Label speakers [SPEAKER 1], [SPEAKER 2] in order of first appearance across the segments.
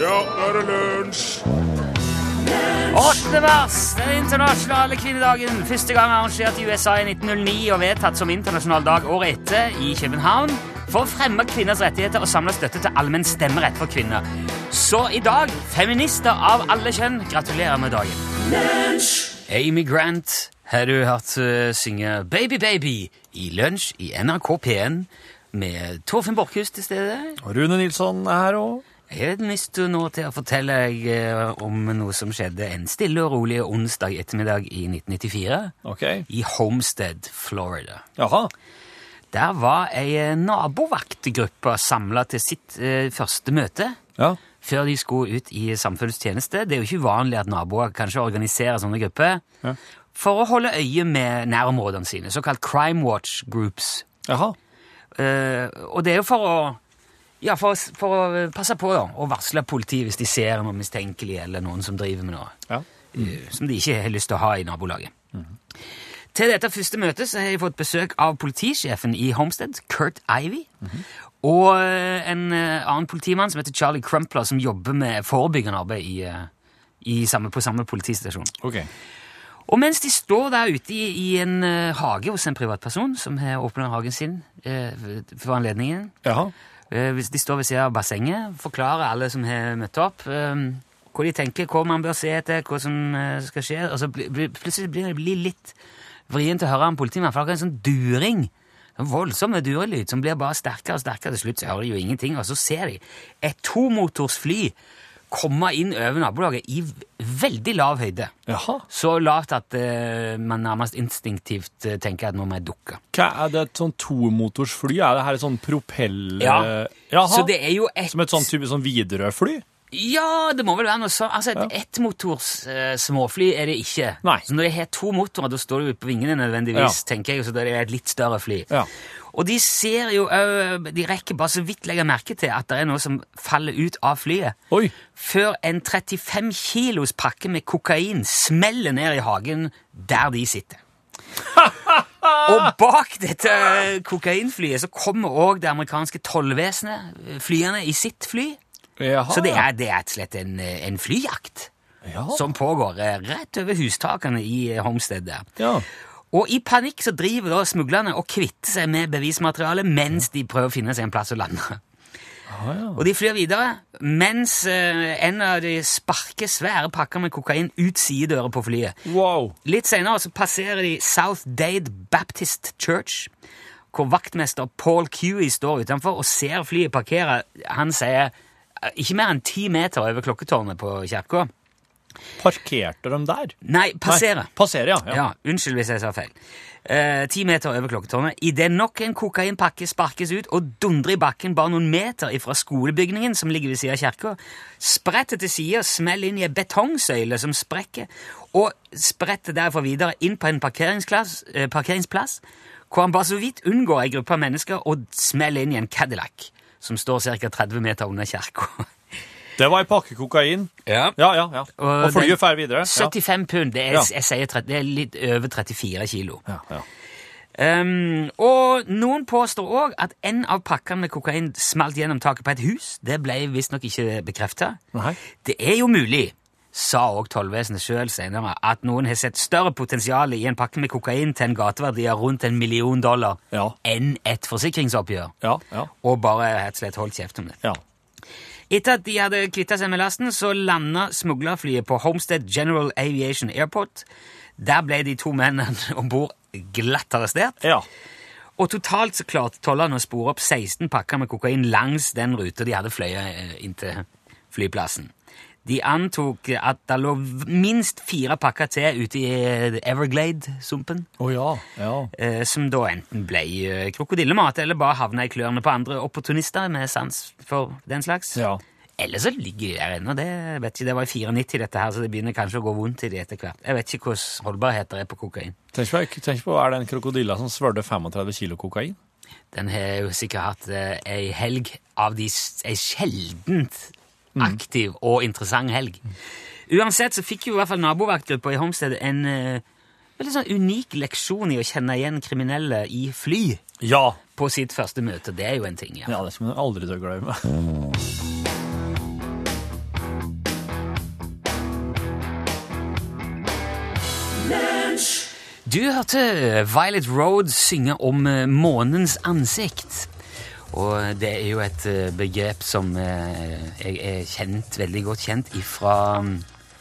[SPEAKER 1] Ja, nå er det lunsj!
[SPEAKER 2] 8. mars, den internasjonale kvinnedagen. Første gang arrangert i USA i 1909 og vedtatt som internasjonal dag året etter i København for å fremme kvinners rettigheter og samle støtte til allmenn stemmerett for kvinner. Så i dag, feminister av alle kjønn, gratulerer med dagen. Amy Grant har du hørt eh, synge Baby Baby i lunsj i NRK P1 med Torfinn Borkhus til stede.
[SPEAKER 3] Og Rune Nilsson er her òg.
[SPEAKER 2] Jeg har lyst til nå til å fortelle deg eh, om noe som skjedde en stille og rolig onsdag ettermiddag i 1994
[SPEAKER 3] Ok.
[SPEAKER 2] i Homestead, Florida.
[SPEAKER 3] Jaha.
[SPEAKER 2] Der var ei eh, nabovaktgruppe samla til sitt eh, første møte
[SPEAKER 3] Ja.
[SPEAKER 2] før de skulle ut i samfunnstjeneste. Det er jo ikke uvanlig at naboer kanskje organiserer sånne grupper
[SPEAKER 3] Ja.
[SPEAKER 2] for å holde øye med nærområdene sine, såkalt crime watch groups.
[SPEAKER 3] Jaha.
[SPEAKER 2] Eh, og det er jo for å ja, for, å s- for å passe på da, og varsle politiet hvis de ser noe mistenkelig eller noen som driver med noe
[SPEAKER 3] Ja.
[SPEAKER 2] eh, som de ikke har lyst til å ha i nabolaget. Til dette første møtet så har jeg fått besøk av politisjefen i Homestead, Kurt Ivy, og eh, en eh, annen politimann som heter Charlie Crumpler, som jobber med forebyggende arbeid i, eh, i samme, på samme politistasjon.
[SPEAKER 3] Ok.
[SPEAKER 2] Og mens de står der ute i, i en eh, hage hos en privatperson som har åpnet hagen sin eh, for anledningen,
[SPEAKER 3] Jaha.
[SPEAKER 2] eh, hvis de står ved siden av bassenget, forklarer alle som har møtt opp, eh, hva de tenker, hva man bør se etter, hva som eh, skal skje. Og så bli, bli, plutselig blir det blir litt vrien til å høre en politimann, for det er en sånn during. En voldsom durelyd som blir bare sterkere og sterkere. Til slutt så hører de jo ingenting, og så ser de et tomotorsfly komme inn over nabolaget i v- veldig lav høyde.
[SPEAKER 3] Jaha.
[SPEAKER 2] Så lavt at eh, man nærmest instinktivt eh, tenker at nå må jeg dukke.
[SPEAKER 3] Hva er det et sånn tomotorsfly? Er det her et sånn propell...
[SPEAKER 2] Ja.
[SPEAKER 3] Jaha.
[SPEAKER 2] Så det er jo et
[SPEAKER 3] Som et sånn type sånn Widerøe-fly?
[SPEAKER 2] Ja, det må vel være noe sånt. Altså, et ettmotors eh, småfly er det ikke.
[SPEAKER 3] Nei.
[SPEAKER 2] Så når de har to motorer, da står du på vingene nødvendigvis, tenker jeg, så da er det et litt større fly.
[SPEAKER 3] Ja.
[SPEAKER 2] Og de ser jo òg De rekker bare så vidt legge merke til at det er noe som faller ut av flyet.
[SPEAKER 3] Oi.
[SPEAKER 2] Før en 35 kilos pakke med kokain smeller ned i hagen der de sitter. Og bak dette kokainflyet så kommer òg det amerikanske tollvesenet eh, flyene i sitt fly.
[SPEAKER 3] Jaha.
[SPEAKER 2] Så det er, det er rett og slett en, en flyjakt
[SPEAKER 3] Ja.
[SPEAKER 2] som pågår eh, rett over hustakene i eh, Homestedet.
[SPEAKER 3] ja.
[SPEAKER 2] Og i panikk så driver da smuglerne og kvitter seg med bevismaterialet mens de prøver å finne seg en plass å lande.
[SPEAKER 3] Ah, ja.
[SPEAKER 2] Og de flyr videre mens eh, en av de sparker svære pakker med kokain ut sidedøra på flyet.
[SPEAKER 3] Wow.
[SPEAKER 2] Litt senere så passerer de South Dade Baptist Church, hvor vaktmester Paul Cuey står utenfor og ser flyet parkere. Han sier eh, ikke mer enn ti meter over klokketårnet på kirka.
[SPEAKER 3] Parkerte de der?
[SPEAKER 2] Nei, passere.
[SPEAKER 3] Nei, Passere, ja.
[SPEAKER 2] Ja.
[SPEAKER 3] ja.
[SPEAKER 2] unnskyld hvis jeg sa feil. Eh, Ti meter over klokketårnet. Idet nok en kokainpakke sparkes ut og dundrer i bakken bare noen meter ifra skolebygningen som ligger ved siden av kirka, spretter til sida, smeller inn i ei betongsøyle som sprekker, og spretter derfra videre inn på en parkeringsplass, eh, parkeringsplass hvor han bare så vidt unngår ei gruppe av mennesker og smeller inn i en Cadillac som står ca. 30 meter under kirka.
[SPEAKER 3] Det var ei pakke kokain.
[SPEAKER 2] Ja.
[SPEAKER 3] Ja, ja, ja. Og,
[SPEAKER 2] den-
[SPEAKER 3] flyet fer videre. Ja.
[SPEAKER 2] 75 pund. Det er,
[SPEAKER 3] Ja.
[SPEAKER 2] jeg sier, tre- det er litt over 34 kilo.
[SPEAKER 3] Ja, ja.
[SPEAKER 2] Ehm, og noen påstår òg at en av pakkene med kokain smalt gjennom taket på et hus. Det ble visstnok ikke bekrefta.
[SPEAKER 3] Nei.
[SPEAKER 2] Det er jo mulig, sa òg tollvesenet sjøl senere, at noen har sett større potensial i en pakke med kokain til en gateverdi av rundt en million dollar
[SPEAKER 3] Ja.
[SPEAKER 2] enn et forsikringsoppgjør,
[SPEAKER 3] Ja, ja.
[SPEAKER 2] og bare rett og slett holdt kjeft om det.
[SPEAKER 3] ja.
[SPEAKER 2] Etter at de hadde kvittet seg med lasten, så landet smuglerflyet på Homestead General Aviation Airport. Der ble de to mennene om bord glatt arrestert.
[SPEAKER 3] ja.
[SPEAKER 2] Og totalt så klarte tollerne å spore opp 16 pakker med kokain langs den ruta de hadde fløyet eh, inn til flyplassen. De antok at det lå v- minst fire pakker til ute i eh, Everglade-sumpen,
[SPEAKER 3] Å ja. ja.
[SPEAKER 2] eh, som da enten ble eh, krokodillemat eller bare havna i klørne på andre opportunister med sans for den slags.
[SPEAKER 3] Ja.
[SPEAKER 2] Eller så ligger de der ennå. Det, vet ikke, det var i 94, dette her, så det begynner kanskje å gå vondt i det etter hvert. Jeg vet ikke hvordan holdbarhet det er på kokain.
[SPEAKER 3] Tenk på, tenk på, er det en krokodilla som svølger 35 kilo kokain?
[SPEAKER 2] Den har jo sikkert hatt eh, ei helg av de s- ei sjeldent aktiv og interessant helg. Uansett så fikk jo i hvert fall nabovaktgruppa i Homestead en eh, veldig sånn unik leksjon i å kjenne igjen kriminelle i fly
[SPEAKER 3] Ja.
[SPEAKER 2] på sitt første møte. Det er jo en ting, ja.
[SPEAKER 3] ja det skal man aldri til å glemme.
[SPEAKER 2] Du hørte Violet Road synge om eh, månens ansikt. Og det er jo et eh, begrep som eh, jeg er kjent, veldig godt kjent ifra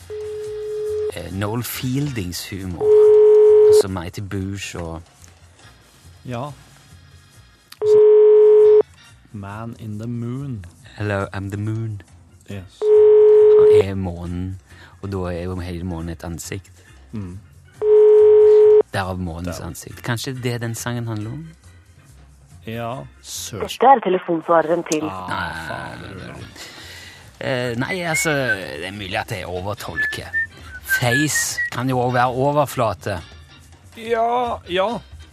[SPEAKER 2] eh, Noel Fieldings humor. Altså Mighty Boosh og
[SPEAKER 3] Ja. Man in the moon.
[SPEAKER 2] Hello, I'm the moon.
[SPEAKER 3] Yes.
[SPEAKER 2] Han er månen, og da er jo hele månen et ansikt. Mm. Derav månens ansikt. Kanskje det er den sangen handler om?
[SPEAKER 3] Ja. Søren.
[SPEAKER 4] Dette er telefonsvareren til
[SPEAKER 2] Eh, nei, altså, det er mulig at jeg overtolker. Face kan jo også være overflate.
[SPEAKER 3] Ja, ja.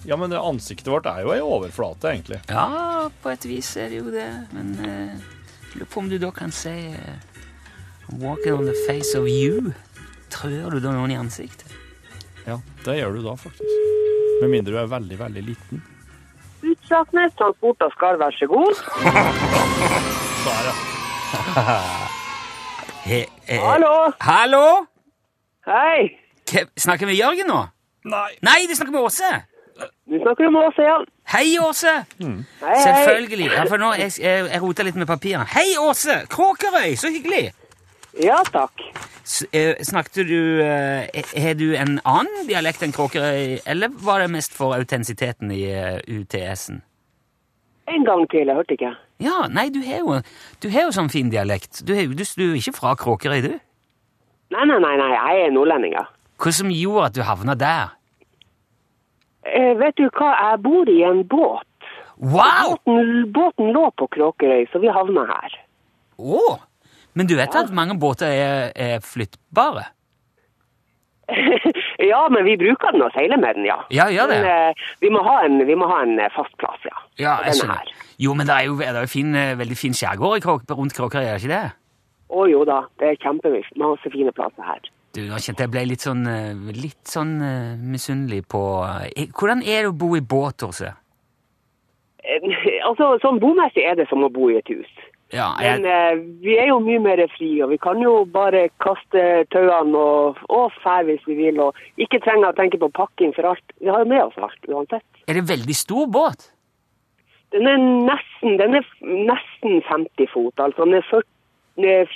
[SPEAKER 3] Ja, men det ansiktet vårt er jo ei overflate, egentlig.
[SPEAKER 2] Ja, på et vis er det jo det, men eh, jeg lurer på om du da kan si eh, Walking on the face of you. Trør du da noen i ansiktet?
[SPEAKER 3] Ja, Det gjør du da, faktisk. Med mindre du er veldig, veldig liten.
[SPEAKER 4] Utslagsnes Transport og Skar, vær så god.
[SPEAKER 3] Der, ja.
[SPEAKER 2] He, eh,
[SPEAKER 4] Hallo!
[SPEAKER 2] Hallo?
[SPEAKER 4] Hei!
[SPEAKER 2] Ke- Snakker vi Jørgen nå?
[SPEAKER 3] Nei.
[SPEAKER 2] Nei, du snakker med Åse!
[SPEAKER 4] Du snakker om Åse, ja.
[SPEAKER 2] Hei, Åse!
[SPEAKER 4] Hei, hei.
[SPEAKER 2] Selvfølgelig. Ja, for nå, jeg, jeg, jeg rota litt med papirene. Hei, Åse! Kråkerøy, så hyggelig!
[SPEAKER 4] Ja, takk.
[SPEAKER 2] S eh, snakket du eh, eh, Har du en annen dialekt enn Kråkerøy, eller var det mest for autentisiteten i eh, UTS-en?
[SPEAKER 4] En gang til, jeg hørte ikke.
[SPEAKER 2] Ja, nei, du har jo, du har jo sånn fin dialekt. Du, har jo- du, du er jo ikke fra Kråkerøy, du?
[SPEAKER 4] Nei, nei, nei, nei, jeg er nordlending, ja.
[SPEAKER 2] Hva som gjorde at du havna der?
[SPEAKER 4] Eh, vet du hva, jeg bor i en båt.
[SPEAKER 2] Wow!
[SPEAKER 4] Båten, båten lå på Kråkerøy, så vi havna her.
[SPEAKER 2] Å! Men du vet at mange båter er, er flyttbare?
[SPEAKER 4] ja, men vi bruker den og seiler med den, ja.
[SPEAKER 2] Ja, gjør det.
[SPEAKER 4] Men, eh, vi, må ha en, vi må ha en eh, fast plass, ja.
[SPEAKER 2] Ja,
[SPEAKER 4] Og
[SPEAKER 2] jeg
[SPEAKER 4] den er
[SPEAKER 2] skjønner.
[SPEAKER 4] her.
[SPEAKER 2] Jo, men det er jo, det er jo fin, eh, veldig fin skjærgård i Kråk- rundt Kråkerøy, er det ikke det?
[SPEAKER 4] Å jo da, det er kjempemye. Masse fine plasser her.
[SPEAKER 2] Du, nå kjente jeg ble litt sånn, eh, litt sånn eh, misunnelig på eh, Hvordan er det å bo i båt, Åse?
[SPEAKER 4] Eh, altså, sånn bomessig er det som å bo i et hus.
[SPEAKER 2] Ja,
[SPEAKER 4] Men
[SPEAKER 2] jeg,
[SPEAKER 4] eh, vi er jo mye mer fri, og vi kan jo bare kaste tauene og, og fære hvis vi vil, og ikke trenger å tenke på pakking for alt. Vi har jo med oss alt, uansett.
[SPEAKER 2] er det veldig stor båt?
[SPEAKER 4] Den er nesten, den er f- nesten 50 fot, altså den er 40 den er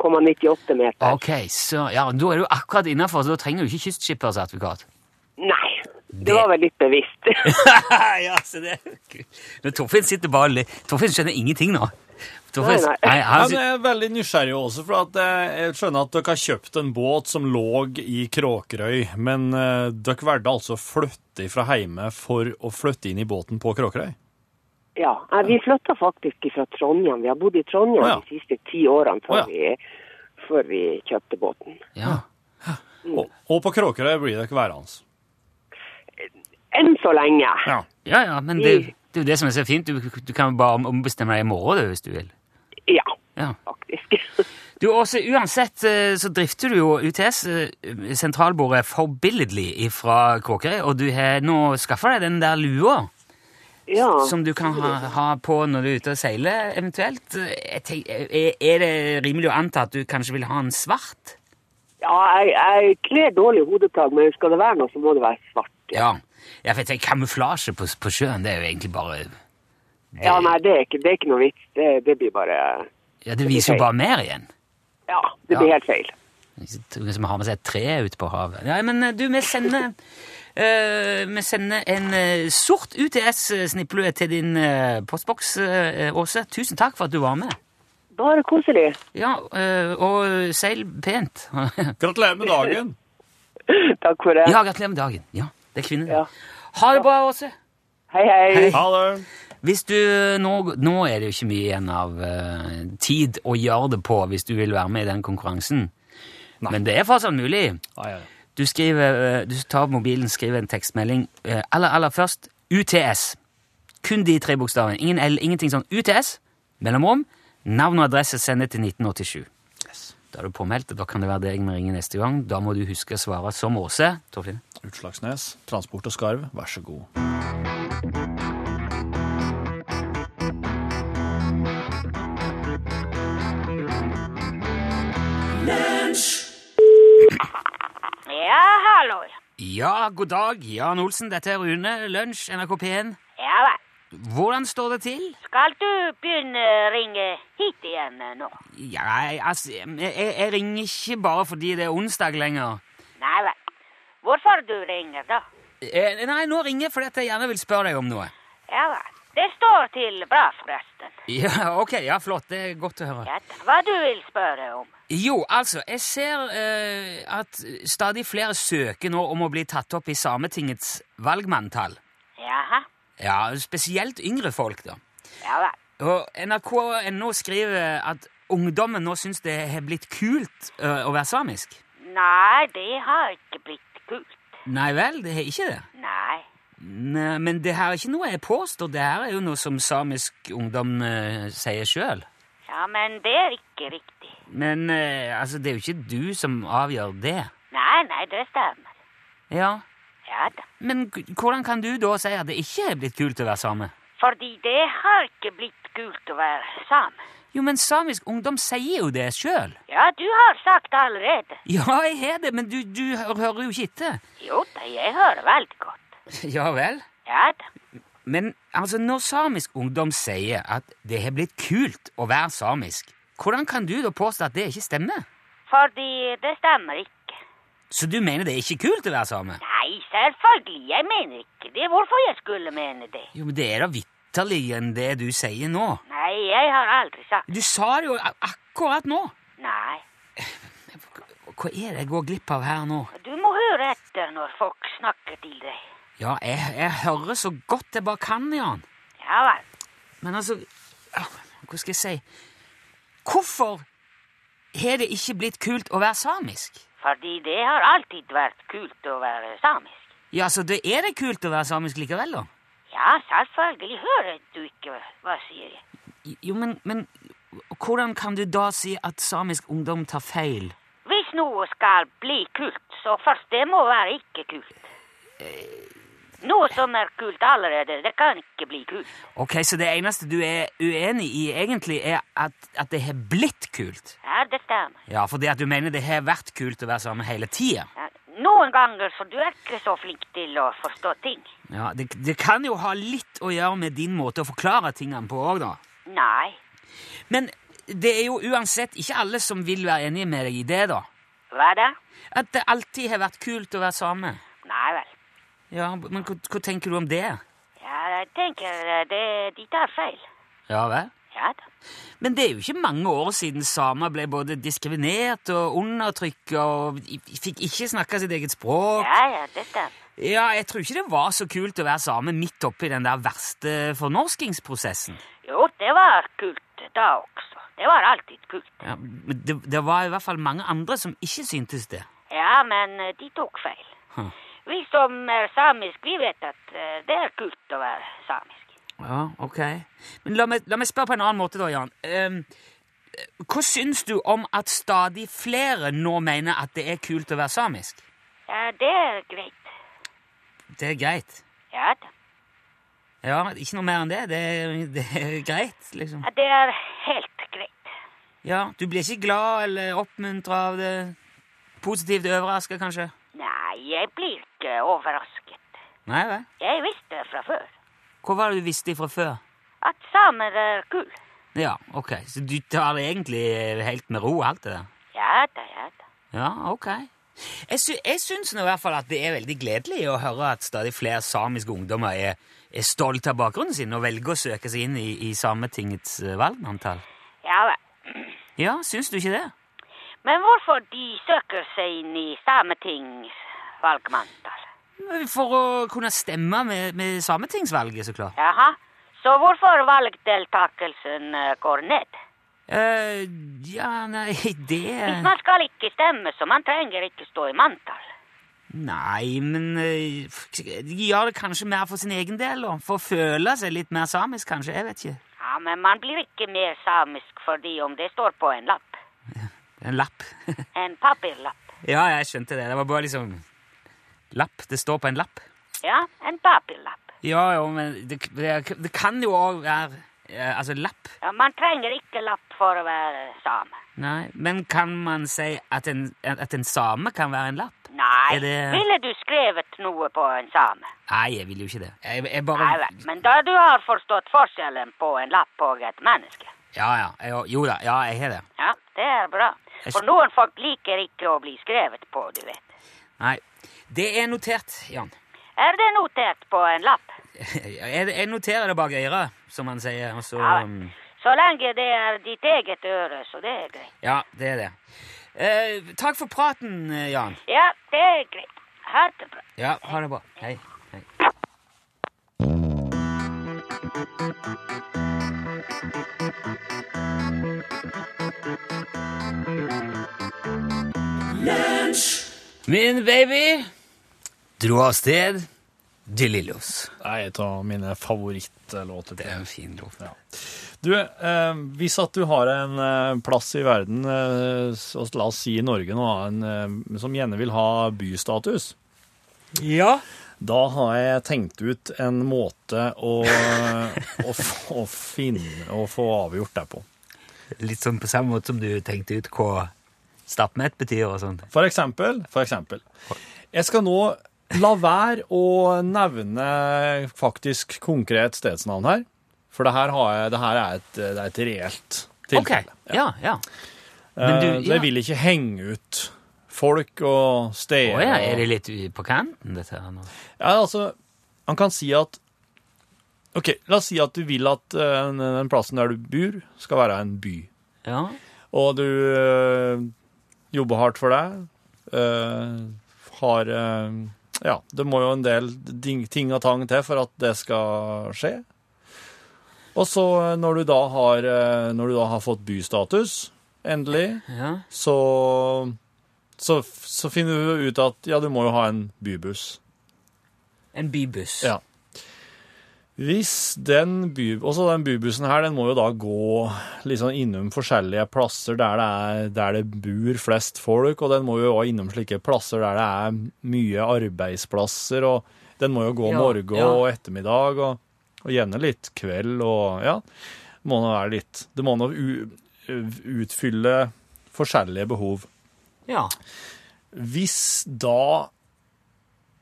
[SPEAKER 4] 14,98 meter.
[SPEAKER 2] Ok, så ja, Da er du akkurat innafor, så da trenger du ikke kystskippersertifikat.
[SPEAKER 4] Nei, det var vel litt bevisst.
[SPEAKER 2] ja, se det. Men Torfinn sitter bare litt Torfinn skjønner ingenting nå. Torfinn,
[SPEAKER 4] Nei, nei.
[SPEAKER 2] nei,
[SPEAKER 3] Ja,
[SPEAKER 2] han,
[SPEAKER 3] men
[SPEAKER 2] sy-
[SPEAKER 3] jeg er veldig nysgjerrig også, for at eh, jeg skjønner at dere har kjøpt en båt som lå i Kråkerøy, men eh, dere valgte altså å flytte fra hjemme for å flytte inn i båten på Kråkerøy?
[SPEAKER 4] ja, nei, vi flytta faktisk fra Trondheim. Vi har bodd i Trondheim
[SPEAKER 3] Å, ja.
[SPEAKER 4] de siste ti årene før,
[SPEAKER 3] Å,
[SPEAKER 4] vi, før vi kjøpte båten.
[SPEAKER 2] ja.
[SPEAKER 3] Og, og på Kråkerøy blir dere værende.
[SPEAKER 4] Enn så lenge.
[SPEAKER 3] Ja.
[SPEAKER 2] ja, ja, men det, det er jo det som er så fint. Du, du kan bare ombestemme deg i morgen du, hvis du vil.
[SPEAKER 4] Ja,
[SPEAKER 2] Ja.
[SPEAKER 4] faktisk.
[SPEAKER 2] Du, Åse, uansett eh, så drifter du jo UTS, eh, sentralbordet, forbilledlig fra Kråkerøy, og du har nå skaffa deg den der lua
[SPEAKER 4] Ja.
[SPEAKER 2] som du kan ha, ha på når du er ute og seiler, eventuelt. Eh, Jeg tenk, er, er det rimelig å anta at du kanskje vil ha en svart?
[SPEAKER 4] ja jeg, jeg kler dårlig hodeplagg, men skal det være noe, så må det være svart.
[SPEAKER 2] Ja. ja for jeg tenker, kamuflasje på, på sjøen, det er jo egentlig bare
[SPEAKER 4] Ja, nei, det er ikke, det er ikke noe vits. Det, det blir bare
[SPEAKER 2] Ja, Det viser jo bare mer igjen.
[SPEAKER 4] Ja, det blir
[SPEAKER 2] Ja.
[SPEAKER 4] helt feil.
[SPEAKER 2] Ingen Som har med seg et tre ute på havet. Nei, men eh, du, vi sender, eh, vi sender en eh, sort UTS-snipplue til din eh, postboks, eh, Åse. Tusen takk for at du var med.
[SPEAKER 4] Bare koselig.
[SPEAKER 2] Ja, eh, og seil pent. ja,
[SPEAKER 3] Gratulerer med dagen!
[SPEAKER 4] Takk for det.
[SPEAKER 2] gratulerer med dagen. Ja, det er kvinnen.
[SPEAKER 4] Ja.
[SPEAKER 2] Ha det bra, Åse.
[SPEAKER 4] Hei, hei.
[SPEAKER 3] Ha det!
[SPEAKER 2] Hvis du, nå, nå er det jo ikke mye igjen av eh, tid å gjøre det på hvis du vil være med i den konkurransen. Men det er fortsatt mulig.
[SPEAKER 3] Ja, ja, ja.
[SPEAKER 2] Du, skriver, eh, du tar opp mobilen, skriver en tekstmelding. eh, Aller, aller først UTS. Kun de tre bokstavene. Ingen L, ingenting sånn. UTS, mellomrom, navn og adresse sendet til 1987. Da er du påmeldt, og da kan det være deg vi ringer neste gang. Da må du huske å svare som Åse. Torfinn.
[SPEAKER 3] Utslagsnes, Transport og Skarv, vær så god.
[SPEAKER 5] Ja, hallo.
[SPEAKER 2] Ja, god dag, Jan Olsen. Dette er Rune. Lunsj, NRK P1.
[SPEAKER 5] Ja vel.
[SPEAKER 2] Hvordan står det til?
[SPEAKER 5] Skal du begynne å ringe hit igjen eh, nå?
[SPEAKER 2] Ja, jeg, altså, jeg, jeg ringer ikke bare fordi det er onsdag lenger.
[SPEAKER 5] Nei vel. Hvorfor du ringer, da?
[SPEAKER 2] Eh, nei, nå ringer jeg fordi at jeg gjerne vil spørre deg om noe.
[SPEAKER 5] Ja vel. Det står til bra, forresten.
[SPEAKER 2] Ja, ok, ja, flott. Det er godt å høre.
[SPEAKER 5] Ja, da. hva du vil spørre om?
[SPEAKER 2] Jo, altså, jeg ser eh, at stadig flere søker nå om å bli tatt opp i Sametingets valgmanntall.
[SPEAKER 5] Jaha.
[SPEAKER 2] Ja, spesielt yngre folk, da.
[SPEAKER 5] Ja vel.
[SPEAKER 2] Og NRK.no skriver at ungdommen nå syns det har blitt kult eh, å være samisk.
[SPEAKER 5] Nei, det har ikke blitt kult.
[SPEAKER 2] Nei vel, det har ikke det.
[SPEAKER 5] Nei.
[SPEAKER 2] Nei, men det her er ikke noe jeg påstår, det her er jo noe som samisk ungdom eh, sier sjøl.
[SPEAKER 5] Ja, men det er ikke riktig.
[SPEAKER 2] Men eh, altså, det er jo ikke du som avgjør det.
[SPEAKER 5] Nei, nei, det stemmer.
[SPEAKER 2] Ja,
[SPEAKER 5] Ja da.
[SPEAKER 2] Men g- hvordan kan du da si at det ikke er blitt kult å være same?
[SPEAKER 5] Fordi det har ikke blitt kult å være same.
[SPEAKER 2] Jo, men samisk ungdom sier jo det sjøl.
[SPEAKER 5] Ja, du har sagt allerede.
[SPEAKER 2] Ja, jeg har det, men du, du hø- hører jo ikke etter.
[SPEAKER 5] Jo da, jeg hører veldig godt.
[SPEAKER 2] Ja vel?
[SPEAKER 5] Ja da.
[SPEAKER 2] Men altså, når samisk ungdom sier at det har blitt kult å være samisk, hvordan kan du da påstå at det ikke stemmer?
[SPEAKER 5] Fordi det stemmer ikke.
[SPEAKER 2] Så du mener det er ikke kult å være same?
[SPEAKER 5] Nei, selvfølgelig. Jeg mener ikke det. Hvorfor jeg skulle mene det?
[SPEAKER 2] Jo, men det er da vitterlig enn det du sier nå.
[SPEAKER 5] Nei, jeg har aldri sagt
[SPEAKER 2] Du sa det jo a- akkurat nå.
[SPEAKER 5] Nei.
[SPEAKER 2] Hva er det jeg går glipp av her nå?
[SPEAKER 5] Du må høre etter når folk snakker til deg.
[SPEAKER 2] Ja, jeg, jeg hører så godt jeg bare kan, Jan.
[SPEAKER 5] Ja vel.
[SPEAKER 2] Men altså ah, Hva skal jeg si Hvorfor har det ikke blitt kult å være samisk?
[SPEAKER 5] Fordi det har alltid vært kult å være samisk.
[SPEAKER 2] Ja, så det er det kult å være samisk likevel, da?
[SPEAKER 5] Ja, selvfølgelig hører du ikke hva jeg sier. jeg.
[SPEAKER 2] Jo, men, men hvordan kan du da si at samisk ungdom tar feil?
[SPEAKER 5] Hvis noe skal bli kult, så først det må være ikke kult. Noe som er kult allerede, det kan ikke bli kult.
[SPEAKER 2] Ok, Så det eneste du er uenig i, egentlig, er at, at det har blitt kult?
[SPEAKER 5] Ja, det stemmer.
[SPEAKER 2] Ja, fordi at du mener det har vært kult å være same hele tida?
[SPEAKER 5] Ja, Noen ganger så du er ikke så flink til å forstå ting.
[SPEAKER 2] Ja, det, det kan jo ha litt å gjøre med din måte å forklare tingene på òg, da.
[SPEAKER 5] Nei.
[SPEAKER 2] Men det er jo uansett ikke alle som vil være enige med deg i det, da.
[SPEAKER 5] Hva da?
[SPEAKER 2] At det alltid har vært kult å være same.
[SPEAKER 5] Nei vel.
[SPEAKER 2] Ja, men hva, hva tenker du om det?
[SPEAKER 5] Ja, jeg tenker eh, det, de tar feil.
[SPEAKER 2] Ja vel?
[SPEAKER 5] Ja da.
[SPEAKER 2] Men det er jo ikke mange år siden samer ble både diskriminert og undertrykket og i- fikk ikke snakke sitt eget språk.
[SPEAKER 5] Ja, ja, det stemmer.
[SPEAKER 2] Ja, jeg tror ikke det var så kult å være same midt oppi den der verste fornorskingsprosessen.
[SPEAKER 5] Jo, det var kult da også. Det var alltid kult.
[SPEAKER 2] Ja, men det, det var i hvert fall mange andre som ikke syntes det.
[SPEAKER 5] Ja, men eh, de tok feil.
[SPEAKER 2] Hm.
[SPEAKER 5] Vi som er samisk, vi vet at eh, det er kult å være samisk.
[SPEAKER 2] Ja, ok. Men la meg, la meg spørre på en annen måte, da, Jan. Ehm, hva syns du om at stadig flere nå mener at det er kult å være samisk?
[SPEAKER 5] Ja, det er greit.
[SPEAKER 2] Det er greit.
[SPEAKER 5] Ja da.
[SPEAKER 2] Ja, ikke noe mer enn det. Det er, det er greit, liksom.
[SPEAKER 5] Ja, det er helt greit.
[SPEAKER 2] Ja, Du blir ikke glad eller oppmuntra av det? Positivt overraska, kanskje?
[SPEAKER 5] Nei, jeg blir ikke overrasket.
[SPEAKER 2] Nei vel?
[SPEAKER 5] Jeg visste fra før
[SPEAKER 2] Hva var det du visste fra før?
[SPEAKER 5] at samer er kul.
[SPEAKER 2] Ja, ok. Så du tar det egentlig helt med ro, alt det der?
[SPEAKER 5] Ja da, ja da.
[SPEAKER 2] Ja, ok. Jeg, sy jeg syns nå i hvert fall at det er veldig gledelig å høre at stadig flere samiske ungdommer er, er stolte av bakgrunnen sin og velger å søke seg inn i, i Sametingets eh, valgmanntall.
[SPEAKER 5] Ja vel.
[SPEAKER 2] Ja, syns du ikke det?
[SPEAKER 5] Men hvorfor de søker seg inn i Sametings valgmanntall?
[SPEAKER 2] For å kunne stemme med, med sametingsvalget, så klart.
[SPEAKER 5] Jaha. Så hvorfor valgdeltakelsen eh, går ned?
[SPEAKER 2] eh ja, nei,
[SPEAKER 5] Hvis
[SPEAKER 2] det
[SPEAKER 5] man skal ikke stemme, så man trenger ikke stå i manntall.
[SPEAKER 2] Nei, men eh, De gjør det kanskje mer for sin egen del, da. For å føle seg litt mer samisk, kanskje. Jeg vet ikke.
[SPEAKER 5] Ja, men man blir ikke mer samisk fordi om det står på en lapp.
[SPEAKER 2] En lapp.
[SPEAKER 5] En papirlapp.
[SPEAKER 2] Ja, jeg skjønte det. Det var bare liksom Lapp. Det står på en lapp.
[SPEAKER 5] Ja, en papirlapp.
[SPEAKER 2] Ja, jo, men det, det, det kan jo òg være eh, Altså, lapp
[SPEAKER 5] Ja, man trenger ikke lapp for å være same.
[SPEAKER 2] Nei, men kan man si at en, at en same kan være en lapp?
[SPEAKER 5] Nei,
[SPEAKER 2] Er det-
[SPEAKER 5] ville du skrevet noe på en same?
[SPEAKER 2] Nei, jeg vil jo ikke det. Jeg, jeg bare
[SPEAKER 5] Nei vel, men da du har forstått forskjellen på en lapp og et menneske.
[SPEAKER 2] Ja, ja. Jo, jo da. Ja, jeg har det.
[SPEAKER 5] Ja, det er bra.
[SPEAKER 2] Jeg
[SPEAKER 5] For
[SPEAKER 2] sk-
[SPEAKER 5] noen folk liker ikke å bli skrevet på, du vet.
[SPEAKER 2] Nei. Det er notert, Jan.
[SPEAKER 5] Er det notert på en lapp?
[SPEAKER 2] Jeg, jeg noterer det bak øret, som man sier. Og så
[SPEAKER 5] Ja,
[SPEAKER 2] um,
[SPEAKER 5] vel. Så lenge det er ditt eget øre, så det er greit.
[SPEAKER 2] Ja, det er det. Eh, takk for praten, eh, Jan.
[SPEAKER 5] Ja, det er greit. Ha det bra.
[SPEAKER 2] Ja, ha det bra. Hei. Hei. Min baby dro av sted til Lillos.
[SPEAKER 3] Det er et av mine favorittlåter.
[SPEAKER 2] Det er en fin låt.
[SPEAKER 3] Du, eh, hvis at du har en eh, plass i verden, eh, så la oss si i Norge nå, en, eh, som gjerne vil ha bystatus,
[SPEAKER 2] Ja.
[SPEAKER 3] da har jeg tenkt ut en måte å, å, f- å finne og få avgjort det på.
[SPEAKER 2] Litt sånn på samme måte som du tenkte ut hva stappmett betyr og sånt.
[SPEAKER 3] For eksempel, for eksempel. Jeg skal nå la være å nevne faktisk konkret stedsnavn her, for det her, har jeg, det her er, et, det er et reelt tilfelle.
[SPEAKER 2] Ja, ja.
[SPEAKER 3] Eh,
[SPEAKER 2] Men du-
[SPEAKER 3] Så
[SPEAKER 2] ja.
[SPEAKER 3] jeg vil ikke henge ut folk og
[SPEAKER 2] Å
[SPEAKER 3] steder.
[SPEAKER 2] ja,
[SPEAKER 3] og-
[SPEAKER 2] er det litt u- på kanten, dette her nå?
[SPEAKER 3] Ja, altså, han kan si at Ok, la oss si at du vil at eh, den- den plassen der du bor, skal være en by.
[SPEAKER 2] Ja.
[SPEAKER 3] Og du eh, jobber hardt for deg. eh, har eh, Ja, det må jo en del ding, ting og tang til for at det skal skje. Og så eh, når du da har, eh, når du da har fått bystatus, endelig,
[SPEAKER 2] ja.
[SPEAKER 3] så, så så finner du ut at ja, du må jo ha en bybuss.
[SPEAKER 2] En bybuss.
[SPEAKER 3] Ja. Hvis den, by, også den bybussen her, den må jo da gå liksom innom forskjellige plasser der det, er, der det bor flest folk, og den må jo også innom slike plasser der det er mye arbeidsplasser, og den må jo gå
[SPEAKER 2] Ja,
[SPEAKER 3] morgen
[SPEAKER 2] ja.
[SPEAKER 3] og ettermiddag, og, og gjerne litt kveld, og ja, må nå være litt, det må nå u- utfylle forskjellige behov.
[SPEAKER 2] Ja.
[SPEAKER 3] Hvis da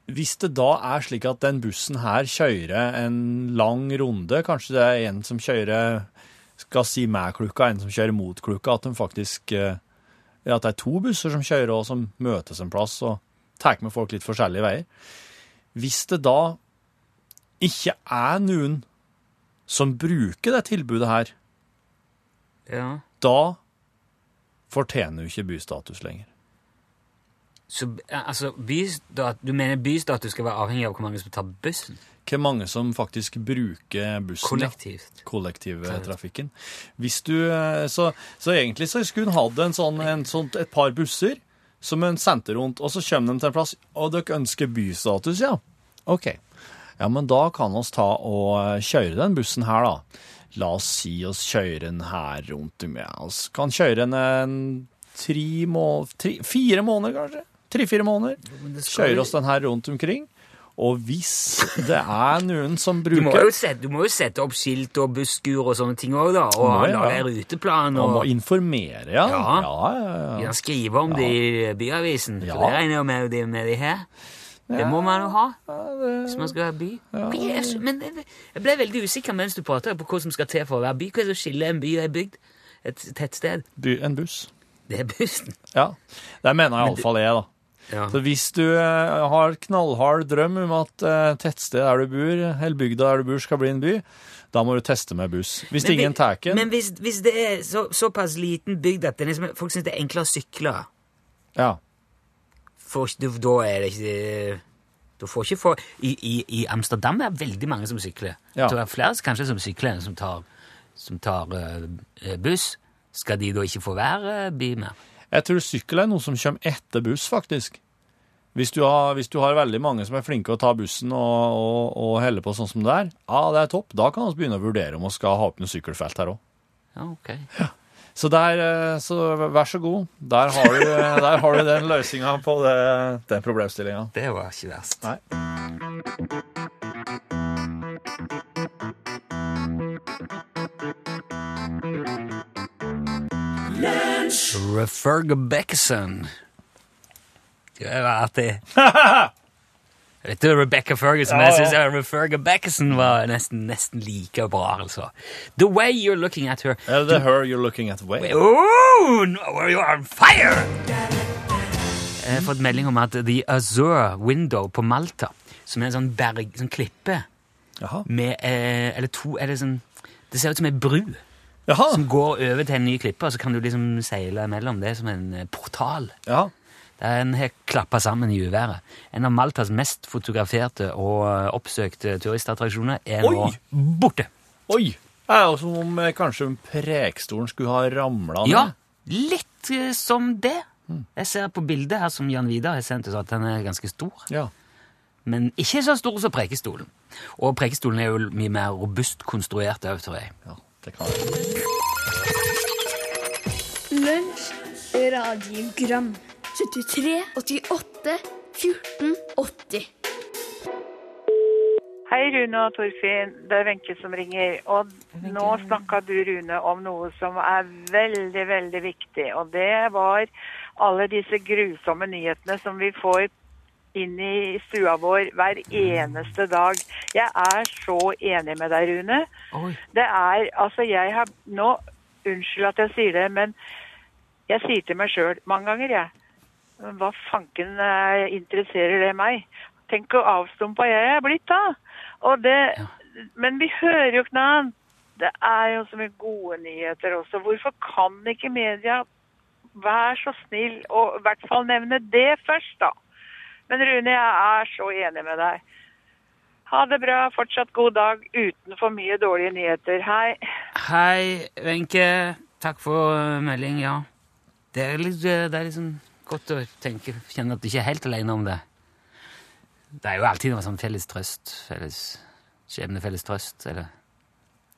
[SPEAKER 3] Hvis det da er slik at den bussen her kjører en lang runde, kanskje det er en som kjører skal si med klukka, en som kjører mot klukka, at de faktisk eh, ja, at det er to busser som kjører og som møtes en plass og tar med folk litt forskjellige veier. Hvis det da ikke er noen som bruker det tilbudet her,
[SPEAKER 2] ja.
[SPEAKER 3] da fortjener du ikke bystatus lenger.
[SPEAKER 2] Så ja, altså, bystat, du mener bystatus skal være avhengig av hvor mange som tar bussen?
[SPEAKER 3] Hvor mange som faktisk bruker bussen. ja.
[SPEAKER 2] Kollektivt.
[SPEAKER 3] kollektivtrafikken. Hvis du, eh, så, så egentlig så skulle hun hatt en sånn, en sånt, et par busser som hun sendte rundt, og så kommer de til en plass, og dere ønsker bystatus, ja. Ok. Ja, men da kan oss ta og eh, kjøre den bussen her, da. La oss si oss kjøre den her rundt om, ja. Oss kan kjøre den en tre må... Tre, fire måneder, kanskje? Tre-fire måneder.
[SPEAKER 2] Men det skal
[SPEAKER 3] Kjøre
[SPEAKER 2] jo-
[SPEAKER 3] oss den her rundt omkring. Og hvis det er noen som
[SPEAKER 2] Du
[SPEAKER 3] bruker...
[SPEAKER 2] må, jo sette, du må jo sette opp skilt og busskur og sånne ting òg, da. Og
[SPEAKER 3] Må jeg,
[SPEAKER 2] lage
[SPEAKER 3] ja.
[SPEAKER 2] ruteplan
[SPEAKER 3] Man
[SPEAKER 2] og
[SPEAKER 3] må informere, ja.
[SPEAKER 2] Ja.
[SPEAKER 3] ja, ja, ja.
[SPEAKER 2] ja, skrive om det i byavisen.
[SPEAKER 3] Ja.
[SPEAKER 2] For det regner jeg med det med de her. Det må man jo ha hvis man skal ha by. Hva er det som- Men jeg jeg ble veldig usikker mens du pratet på hva som skal til for å være by. Hva er det som skiller en by og en bygd? Et tettsted?
[SPEAKER 3] By, en buss.
[SPEAKER 2] Det er bussen.
[SPEAKER 3] Ja. Det mener iallfall jeg, da.
[SPEAKER 2] Ja.
[SPEAKER 3] Så hvis du eh, har knallhard drøm om at eh, tettstedet der du bor, eller bygda der du bor, skal bli en by, da må du teste med buss. Hvis
[SPEAKER 2] Men vi-
[SPEAKER 3] ingen tar den
[SPEAKER 2] Men hvis, hvis det er så, såpass liten bygd at det liksom, folk syns det er enklere å sykle,
[SPEAKER 3] ja.
[SPEAKER 2] får ikke, du- da er det ikke du får ikke få, i, i, I Amsterdam er det veldig mange som sykler.
[SPEAKER 3] Ja.
[SPEAKER 2] Det er flere kanskje som sykler enn som tar, som tar eh, buss. Skal de da ikke få være eh, by mer?
[SPEAKER 3] Jeg tror sykkel er noe som kommer etter buss, faktisk. Hvis du, har, hvis du har veldig mange som er flinke å ta bussen og, og, og helle på sånn som det er, ja, det er topp. Da kan vi begynne å vurdere om vi skal ha opp noe sykkelfelt her òg.
[SPEAKER 2] Ja, ok.
[SPEAKER 3] Så, der, eh, så vær så god. Der har du, eh, der har du den løsninga på det, den problemstillinga.
[SPEAKER 2] Det var ikke verst.
[SPEAKER 3] Nei.
[SPEAKER 2] Referg Beckerson. Det var artig. Vet du, Rebecca Ferguson, men jeg synes jeg Referga Beckerson var nesten, nesten like bra, altså. The way you're looking at her
[SPEAKER 3] Er det her you're looking at way?
[SPEAKER 2] Oh, no, you're on fire! Jeg har fått melding om at The Azure Window på Malta, som er en sånn, berg, sånn klippe
[SPEAKER 3] Jaha.
[SPEAKER 2] med eh, Eller to er det sånn Det ser ut som ei bru
[SPEAKER 3] Jaha.
[SPEAKER 2] som går over til en ny klippe, og så kan du liksom seile imellom. Det er som en eh, portal.
[SPEAKER 3] Ja.
[SPEAKER 2] Den har klappa sammen i uværet. En av Maltas mest fotograferte og eh, oppsøkte turistattraksjoner er
[SPEAKER 3] Oi!
[SPEAKER 2] nå borte.
[SPEAKER 3] Oi! Det er jo som om eh, kanskje Preikestolen skulle ha ramla
[SPEAKER 2] Ja, litt eh, som det. Jeg ser på bildet her som Jan Vidar har sendt oss, at den er ganske stor.
[SPEAKER 3] Ja.
[SPEAKER 2] Men ikke så stor som Preikestolen. Og Preikestolen er jo mye mer robust konstruert òg, tror jeg.
[SPEAKER 3] ja. Det kan jeg.
[SPEAKER 6] Lunsj, radiogram 73, 88, 14, 80
[SPEAKER 7] Hei, Rune og Torfinn. Det er Wenche som ringer. Og nå snakka du, Rune, om noe som er veldig, veldig viktig. Og det var alle disse grusomme nyhetene som vi får inn i stua vår hver eneste dag. Jeg er så enig med deg, Rune.
[SPEAKER 2] Oi.
[SPEAKER 7] Det er Altså, jeg har nå Unnskyld at jeg sier det, men jeg sier til meg sjøl mange ganger, jeg. Hva fanken eh, interesserer det meg? Tenk hvor avstumpa jeg er blitt da. Og det, men vi hører jo ikke noe annet. Det er jo så mye gode nyheter også. Hvorfor kan ikke media være så snill og i hvert fall nevne det først, da? Men Rune, jeg er så enig med deg. Ha det bra. Fortsatt god dag uten for mye dårlige nyheter. Hei.
[SPEAKER 2] Hei, Wenche. Takk for eh, melding, ja. Det er, litt, eh, det er liksom godt å tenke, kjenne at du ikke er helt alene om det. Det er jo alltid noe sånn felles trøst, felles skjebne, felles trøst, eller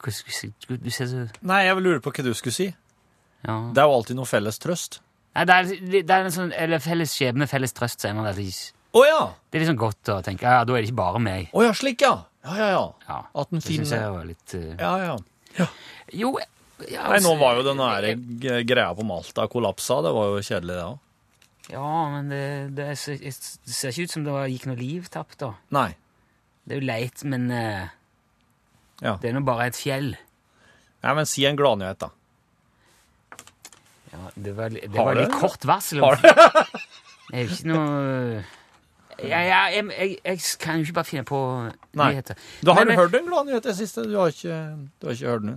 [SPEAKER 2] Hva skulle jeg si? Du ser så
[SPEAKER 3] Nei, jeg lurer på hva du skulle si.
[SPEAKER 2] Ja.
[SPEAKER 3] Det er jo alltid noe felles trøst.
[SPEAKER 2] Nei, det er, det er en sånn Eller felles skjebne, felles trøst, sier man. Det er litt-
[SPEAKER 3] Å ja!
[SPEAKER 2] det er liksom godt å tenke ja, ja, da er det ikke bare meg.
[SPEAKER 3] Å ja, slik, ja. Ja, ja, ja.
[SPEAKER 2] Ja,
[SPEAKER 3] At den
[SPEAKER 2] det synes
[SPEAKER 3] finner-
[SPEAKER 2] jeg var litt eh,
[SPEAKER 3] Ja, ja.
[SPEAKER 2] Jo ja, altså,
[SPEAKER 3] Nei, nå var jo den der g- greia på Malta kollapsa. Det var jo kjedelig, det òg.
[SPEAKER 2] Ja, men det, det, ser, det ser ikke ut som det var, gikk noe liv tapt, da.
[SPEAKER 3] Nei.
[SPEAKER 2] Det er jo leit, men eh,
[SPEAKER 3] Ja.
[SPEAKER 2] det er nå bare et fjell.
[SPEAKER 3] Nei, men si en gladnyhet, da.
[SPEAKER 2] Ja, det var, det
[SPEAKER 3] Har
[SPEAKER 2] var
[SPEAKER 3] du?
[SPEAKER 2] litt kort varsel.
[SPEAKER 3] Har
[SPEAKER 2] det? er jo ikke noe ja, ja, jeg, jeg, jeg kan jo ikke bare finne på
[SPEAKER 3] Nei.
[SPEAKER 2] nyheter.
[SPEAKER 3] Da har
[SPEAKER 2] Men-
[SPEAKER 3] du hørt en gladnyhet i det siste. Du har ikke, du har ikke hørt den?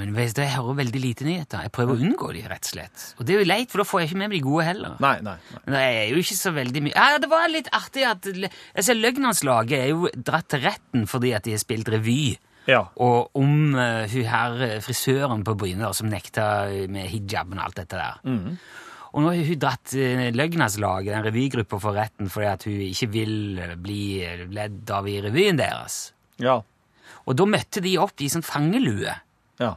[SPEAKER 2] Men vet du, jeg hører veldig lite nyheter. Jeg prøver å unngå de, rett og slett. Og det er jo leit, for da får jeg ikke med meg de gode heller.
[SPEAKER 3] Nei, nei. nei.
[SPEAKER 2] Men Det er jo ikke så veldig mye Ja, Det var litt artig at Jeg ser Løgnanslaget er jo dratt til retten fordi at de har spilt revy.
[SPEAKER 3] Ja.
[SPEAKER 2] Og om eh, hun her eh, frisøren på Bryne da, som nekta eh, med hijaben og alt dette der. Og nå har hun dratt uh, Løgnaslaget, den revygruppa, for retten fordi at hun ikke vil eh, bli eh, ledd av i revyen deres.
[SPEAKER 3] Ja.
[SPEAKER 2] Og da møtte de opp i sånn fangelue
[SPEAKER 3] Ja.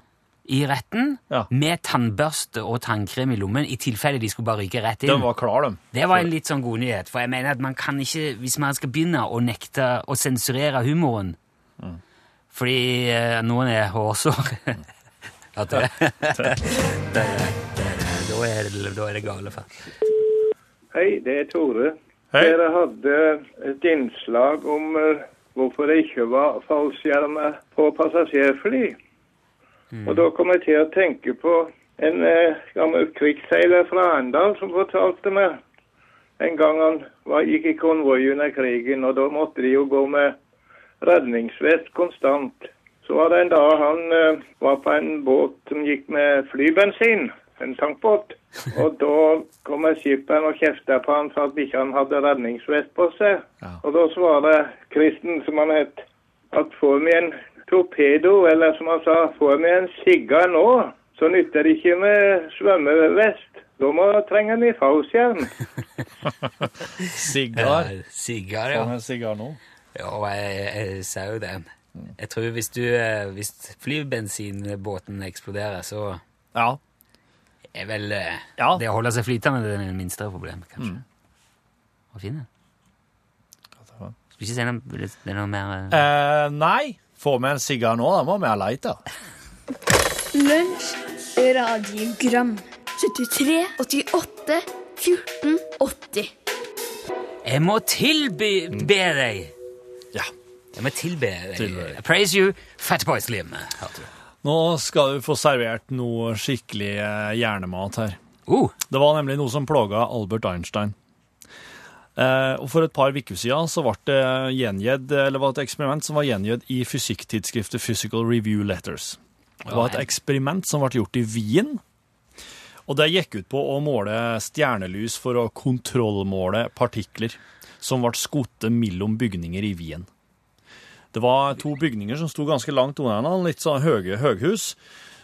[SPEAKER 2] i retten
[SPEAKER 3] Ja.
[SPEAKER 2] med tannbørste og tannkrem i lommen i tilfelle de skulle bare ryke rett inn.
[SPEAKER 3] Den var klar, den.
[SPEAKER 2] Det var en litt sånn god nyhet, for jeg mener at man kan ikke, hvis man skal begynne å nekte å sensurere humoren, Mm. fordi eh, noen er hårsår, at det, det, det, da, er det, da er det gale for.
[SPEAKER 8] Hei, det er Tore.
[SPEAKER 3] Hei.
[SPEAKER 8] Dere hadde et innslag om eh, hvorfor det ikke var fallskjermer på passasjerfly. Og da kom jeg til å tenke på en eh, gammel krigsseiler fra Arendal som fortalte meg en gang han var, gikk i konvoi under krigen, og da måtte de jo gå med redningsvest konstant. Så var det en dag han eh, var på en båt som gikk med flybensin, en tankbåt. Og da kom skipperen og kjefta på han for at ikke han hadde redningsvest på seg.
[SPEAKER 3] Ja.
[SPEAKER 8] Og da svarer Kristen, som han het, at får vi en torpedo, eller som han sa, får vi en sigga nå, så nytter det ikke med svømmevest. Da må trenger vi fallskjerm.
[SPEAKER 3] Sigar.
[SPEAKER 2] Ja, Sånn. Sigar,
[SPEAKER 3] Hva
[SPEAKER 2] ja.
[SPEAKER 3] Eh, med sigar nå?
[SPEAKER 2] Ja, og jeg, jeg sa jo den. Jeg tror hvis, du, eh, hvis flybensinbåten eksploderer, så
[SPEAKER 3] Ja.
[SPEAKER 2] er vel eh,
[SPEAKER 3] Ja.
[SPEAKER 2] det å holde seg flytende det er det minste problemet, kanskje. Å finne. Skal ikke si noe, det er noe mer eh,
[SPEAKER 3] Eh, nei. Få med en sigar nå, da må vi ha leita.
[SPEAKER 6] Lunsj, radiogram 73, 88, 14, 80
[SPEAKER 2] Jeg må tilby be deg!
[SPEAKER 3] Ja.
[SPEAKER 2] Jeg må tilbe deg.
[SPEAKER 3] Tilbe deg.
[SPEAKER 2] I praise you, Fatboy Slim. Hørte du.
[SPEAKER 3] Nå skal du få servert noe skikkelig eh, hjernemat her.
[SPEAKER 2] Oh,
[SPEAKER 3] Det var nemlig noe som plaga Albert Einstein. Eh, og For et par uker siden så ble det gjengjedd, eller var et eksperiment som var gjengjedd i fysikktidsskriftet Physical Review Letters. Det var et eksperiment som ble gjort i Wien. Og det gikk ut på å måle stjernelys for å kontrollmåle partikler som ble skutt mellom bygninger i Wien. Det var to bygninger som sto ganske langt unna hverandre, litt sånn høye høghus.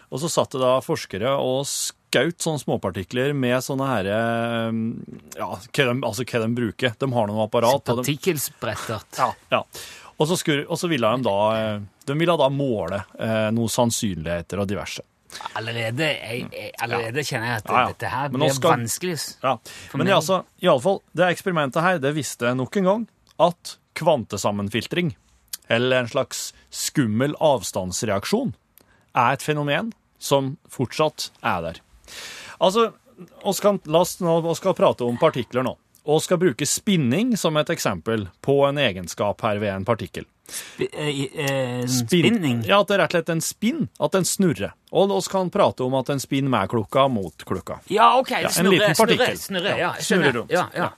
[SPEAKER 3] Og så satt det da forskere og skaut sånne småpartikler med sånne herre Ja, hva de, altså hva de bruker. De har noen apparat. og de-
[SPEAKER 2] partikkelsprettet.
[SPEAKER 3] ja. Og, så skulle, og så ville de da eh, De ville da måle eh, noen sannsynligheter og diverse.
[SPEAKER 2] Allerede, jeg, jeg, allerede kjenner jeg at
[SPEAKER 3] Ja, ja.
[SPEAKER 2] dette her
[SPEAKER 3] Men nå
[SPEAKER 2] blir
[SPEAKER 3] skal-
[SPEAKER 2] vanskelig.
[SPEAKER 3] Ja. Men det er altså, iallfall, det eksperimentet her det visste nok en gang at kvantesammenfiltring, eller en slags skummel avstandsreaksjon, er et fenomen som fortsatt er der. Altså, oss kan, la oss nå oss skal prate om partikler nå. Og skal bruke spinning som et eksempel på en egenskap her ved en partikkel. Spinn-
[SPEAKER 2] eh, Spinning.
[SPEAKER 3] Ja, at det er rett og slett en spinn, at den snurrer. Og oss kan prate om at den spinner med klokka mot klokka.
[SPEAKER 2] Ja, ok.
[SPEAKER 3] en
[SPEAKER 2] det snurrer,
[SPEAKER 3] liten
[SPEAKER 2] Snurrer,
[SPEAKER 3] partikkel.
[SPEAKER 2] snurrer, ja.
[SPEAKER 3] Ja,
[SPEAKER 2] jeg
[SPEAKER 3] snurrer
[SPEAKER 2] skjønner.
[SPEAKER 3] rundt.
[SPEAKER 2] Ja, ja.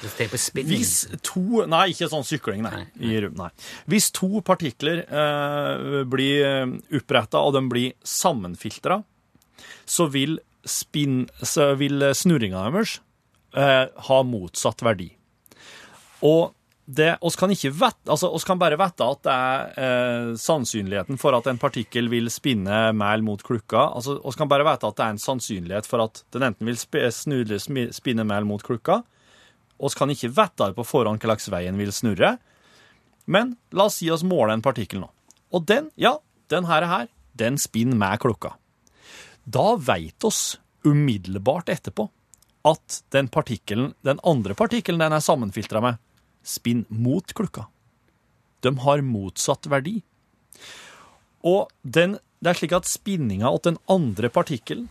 [SPEAKER 2] Så tenk på spinning.
[SPEAKER 3] Hvis to Nei, ikke sånn sykling, nei. I rum, nei. Hvis to partikler eh, blir oppretta, og de blir sammenfiltra, så vil, spinn, så vil snurringa deres eh, ha motsatt verdi. Og det, oss kan, ikke vet, altså, oss kan bare vite at det er eh, sannsynligheten for at en partikkel vil spinne mæl mot klukka. Altså, oss kan bare vite at det er en sannsynlighet for at den enten vil sp snurre, smi- spinne mæl mot klukka, oss kan ikke vette på forhånd hva slags vei en vil snurre, men la oss si oss måle en partikkel nå. Og den, ja, den her, er her den spinner med klokka. Da veit oss umiddelbart etterpå at den partikkelen, den andre partikkelen den er sammenfiltra med, spinner mot klokka. De har motsatt verdi. Og den, det er slik at spinninga åt den andre partikkelen,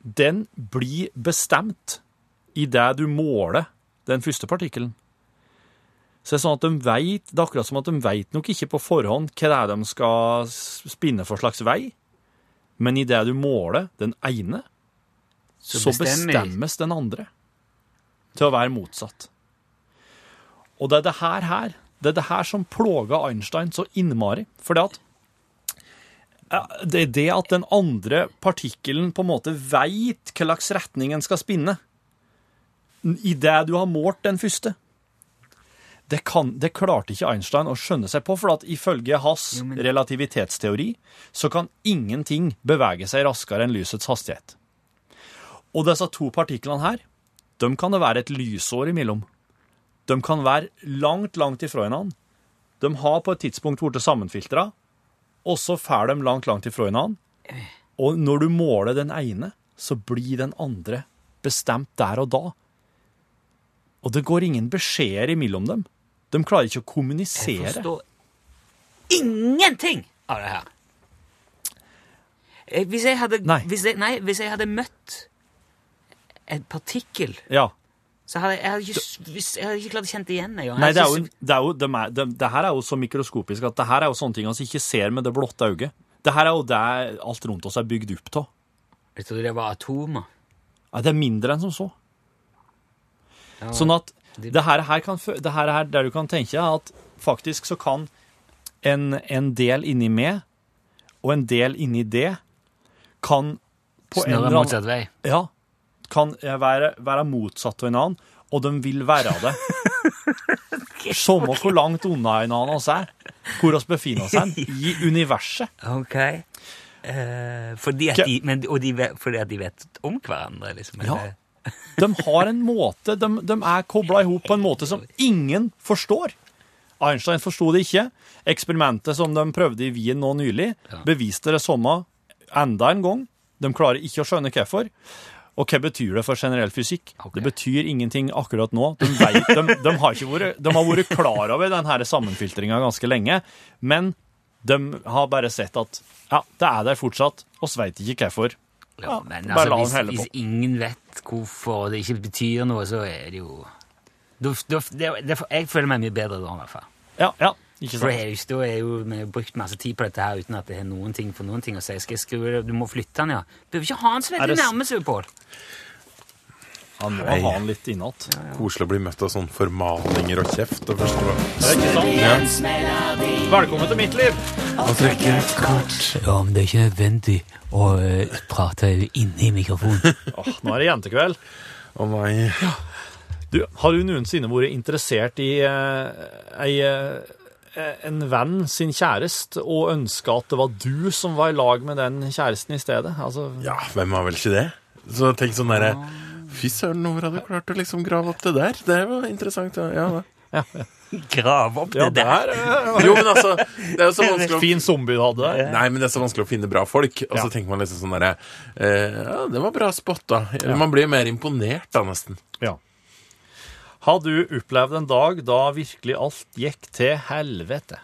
[SPEAKER 3] den blir bestemt i det du måler den første partikkelen. Så det er sånn at de vet, det er akkurat som at de vet nok ikke på forhånd hva det er de skal spinne for slags vei, men i det du måler den ene, så, bestemmes den andre til å være motsatt. Og det er det her, her, det er det her som plaga Einstein så innmari, for det at ja, det er det at den andre partikkelen på en måte veit hva slags retning en skal spinne, i det du har målt den første. Det, kan, det klarte ikke Einstein å skjønne seg på, for at ifølge hans relativitetsteori så kan ingenting bevege seg raskere enn lysets hastighet. Og disse to partiklene her, de kan det være et lysår imellom. De kan være langt, langt ifra hverandre. De har på et tidspunkt blitt sammenfiltra, og så får de langt, langt ifra hverandre. Og når du måler den ene, så blir den andre bestemt der og da. Og det går ingen beskjeder imellom dem. De klarer ikke å
[SPEAKER 2] Jeg
[SPEAKER 3] kommunisere.
[SPEAKER 2] forstår ingenting av det her. Eh, Hvis jeg hadde,
[SPEAKER 3] Nei.
[SPEAKER 2] Hvis jeg, nei, hvis jeg hadde møtt en partikkel,
[SPEAKER 3] Ja.
[SPEAKER 2] så hadde jeg, jeg, hadde ikke, s- hvis, jeg hadde ikke klart å kjenne det igjen. Jeg, jeg
[SPEAKER 3] Nei, det, er
[SPEAKER 2] hadde
[SPEAKER 3] jo, det, er jo, de er, de, det her er jo så mikroskopisk at det her er jo sånne ting vi ikke ser med det blotte øyet. Det her er jo det alt rundt oss er bygd opp av.
[SPEAKER 2] ikke- Jeg trodde det var atomer.
[SPEAKER 3] Ja, det er mindre enn som så. Sånn at det her, her kan, fø- det her er der du kan tenke deg at faktisk så kan en, en del inni meg og en del inni det kan på en
[SPEAKER 2] Snurrer
[SPEAKER 3] eller annen-
[SPEAKER 2] motsatt vei.
[SPEAKER 3] ja, kan jeg være, være motsatt av en annen, og de vil være det. Som og hvor langt unna en annen oss er, hvor oss befinner oss hen, i universet.
[SPEAKER 2] Ok. Eh, fordi at
[SPEAKER 3] Hva-
[SPEAKER 2] de, men, og de vet, fordi at de vet om hverandre, liksom.
[SPEAKER 3] Ja.
[SPEAKER 2] eller?
[SPEAKER 3] De har en måte, de, de er kobla i hop på en måte som ingen forstår. Einstein forsto det ikke. Eksperimentet som de prøvde i Wien nå nylig, beviste det samme enda en gang. De klarer ikke å skjønne hvorfor. Og hva betyr det for generell fysikk? Det betyr ingenting akkurat nå. De, vet, de, de, har, ikke vært, de har vært klar over denne sammenfiltringa ganske lenge, men de har bare sett at ja, det er der fortsatt, og vi veit ikke hvorfor.
[SPEAKER 2] Ja, men altså, hvis, hvis, ingen vet hvorfor det ikke betyr noe, så er det jo du, du, det, det, Jeg føler meg mye bedre da, i hvert fall.
[SPEAKER 3] Ja, ja,
[SPEAKER 2] ikke sant. For jeg, da er jo, vi har brukt masse tid på dette her uten at det har noen ting for noen ting å si. Skal jeg skru det? Du må flytte den, ja. Bør ikke ha den så veldig nærme, sier Pål.
[SPEAKER 3] Han må ha den litt innat. Ja,
[SPEAKER 9] ja. Koselig å bli møtt av sånne formaninger og kjeft. Og forstå.
[SPEAKER 3] Det er ikke sant? Ja. Velkommen til mitt liv.
[SPEAKER 2] Å trekke et kort. Ja, men det er ikke nødvendig å uh, prate inni mikrofonen.
[SPEAKER 3] oh, nå er det jentekveld.
[SPEAKER 9] Å oh, nei. Ja.
[SPEAKER 3] Du, har du noensinne vært interessert i uh, ei uh, en venn sin kjæreste og ønska at det var du som var i lag med den kjæresten i stedet? Altså...
[SPEAKER 9] Ja, hvem har vel ikke det? Så tenk sånn derre Fy søren, hvor hadde du klart å liksom grave opp det der? Det var interessant. Ja, ja. ja.
[SPEAKER 2] Grave opp det ja, der?
[SPEAKER 9] jo, men altså det er jo så vanskelig å...
[SPEAKER 3] Fin zombie du hadde der.
[SPEAKER 9] Nei, men det er så vanskelig å finne bra folk. Og så tenker man liksom sånn derre eh, Ja, det var bra spotta. Man blir mer imponert da, nesten.
[SPEAKER 3] Ja. Har du opplevd en dag da virkelig alt gikk til helvete?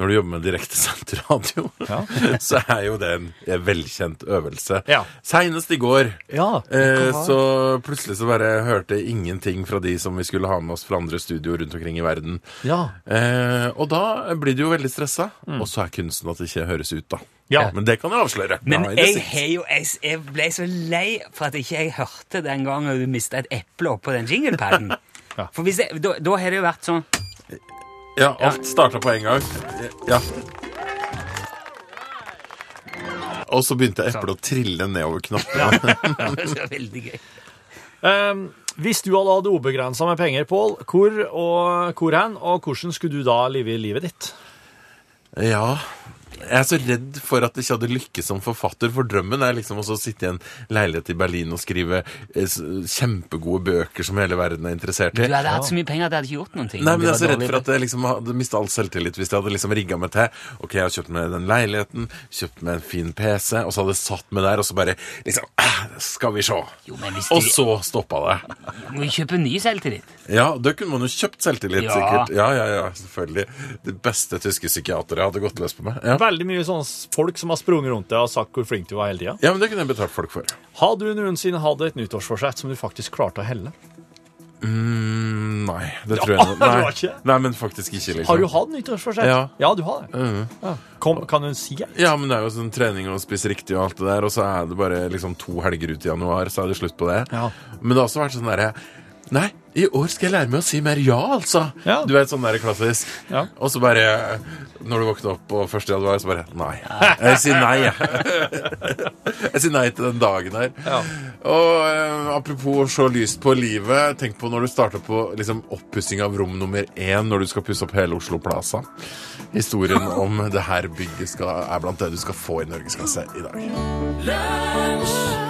[SPEAKER 9] når du jobber med direktesendt radio, ja. så er jo det en eh, velkjent øvelse. Ja. Seinest i går
[SPEAKER 3] ja,
[SPEAKER 9] eh, så plutselig så bare hørte jeg ingenting fra de som vi skulle ha med oss fra andre studioer rundt omkring i verden.
[SPEAKER 3] Ja.
[SPEAKER 9] Eh, og da blir du jo veldig stressa, mm. og så er kunsten at det ikke høres ut, da. Ja. Men det kan jeg avsløre.
[SPEAKER 2] Men jeg, jo, jeg, jeg, ble så lei for at ikke jeg hørte den gangen du mista et eple oppå den jinglepaden. ja. For jeg, da, da har det jo vært sånn
[SPEAKER 9] ja, alt starta på en gang. Ja. Og så begynte eplet å trille nedover knappene.
[SPEAKER 2] det var veldig gøy.
[SPEAKER 3] Um, hvis du hadde hatt ubegrensa med penger, Pål, hvor og hvor hen, og hvordan skulle du da leve livet ditt?
[SPEAKER 9] Ja jeg er så redd for at jeg ikke hadde lykkes som forfatter, for drømmen er liksom også å sitte i en leilighet i Berlin og skrive eh, kjempegode bøker som hele verden er interessert i.
[SPEAKER 2] Du hadde hatt så mye penger at jeg hadde ikke gjort noen ting.
[SPEAKER 9] Nei, men jeg er så redd for at jeg liksom hadde mista all selvtillit hvis jeg hadde liksom rigga meg til. Ok, jeg har kjøpt meg den leiligheten, kjøpt meg en fin PC, og så hadde jeg satt meg der, og så bare liksom Skal vi se. Jo, du... Og så stoppa det.
[SPEAKER 2] Du må kjøpe ny selvtillit.
[SPEAKER 9] Ja, da kunne man jo kjøpt selvtillit, ja. sikkert. Ja, ja, ja, selvfølgelig. De beste tyske psykiatere hadde gått løs på meg. Ja
[SPEAKER 3] veldig mye sånn folk som har sprunget rundt deg og sagt hvor flink du var hele tida.
[SPEAKER 9] Ja, men det kunne jeg betalt folk for.
[SPEAKER 3] Har du noensinne hatt et nyttårsforsett som du faktisk klarte å helle?
[SPEAKER 9] Mm, nei, det tror jeg
[SPEAKER 3] ja, ikke.
[SPEAKER 9] Nei, men faktisk ikke. Liksom.
[SPEAKER 3] Har du hatt nyttårsforsett?
[SPEAKER 9] Ja.
[SPEAKER 3] ja, du har det. Mm. Ja. Kom, kan du si det?
[SPEAKER 9] Ja, men det er jo sånn trening og spise riktig og alt det der, og så er det bare liksom to helger ut i januar, så er det slutt på det.
[SPEAKER 3] Ja.
[SPEAKER 9] Men det har også vært sånn derre Nei, i år skal jeg lære meg å si mer ja, altså. Ja. Du vet, sånn der klassisk.
[SPEAKER 3] Ja.
[SPEAKER 9] Og så bare Når du våkner opp på første januar, så bare Nei. Jeg sier nei, jeg. Jeg sier nei til den dagen her.
[SPEAKER 3] Ja.
[SPEAKER 9] Og eh, apropos å se lyst på livet. Tenk på når du starter på liksom, oppussing av rom nummer én når du skal pusse opp hele Oslo Plaza. Historien om det her bygget skal, er blant det du skal få i Norges Norgesklasse i dag. Lunch.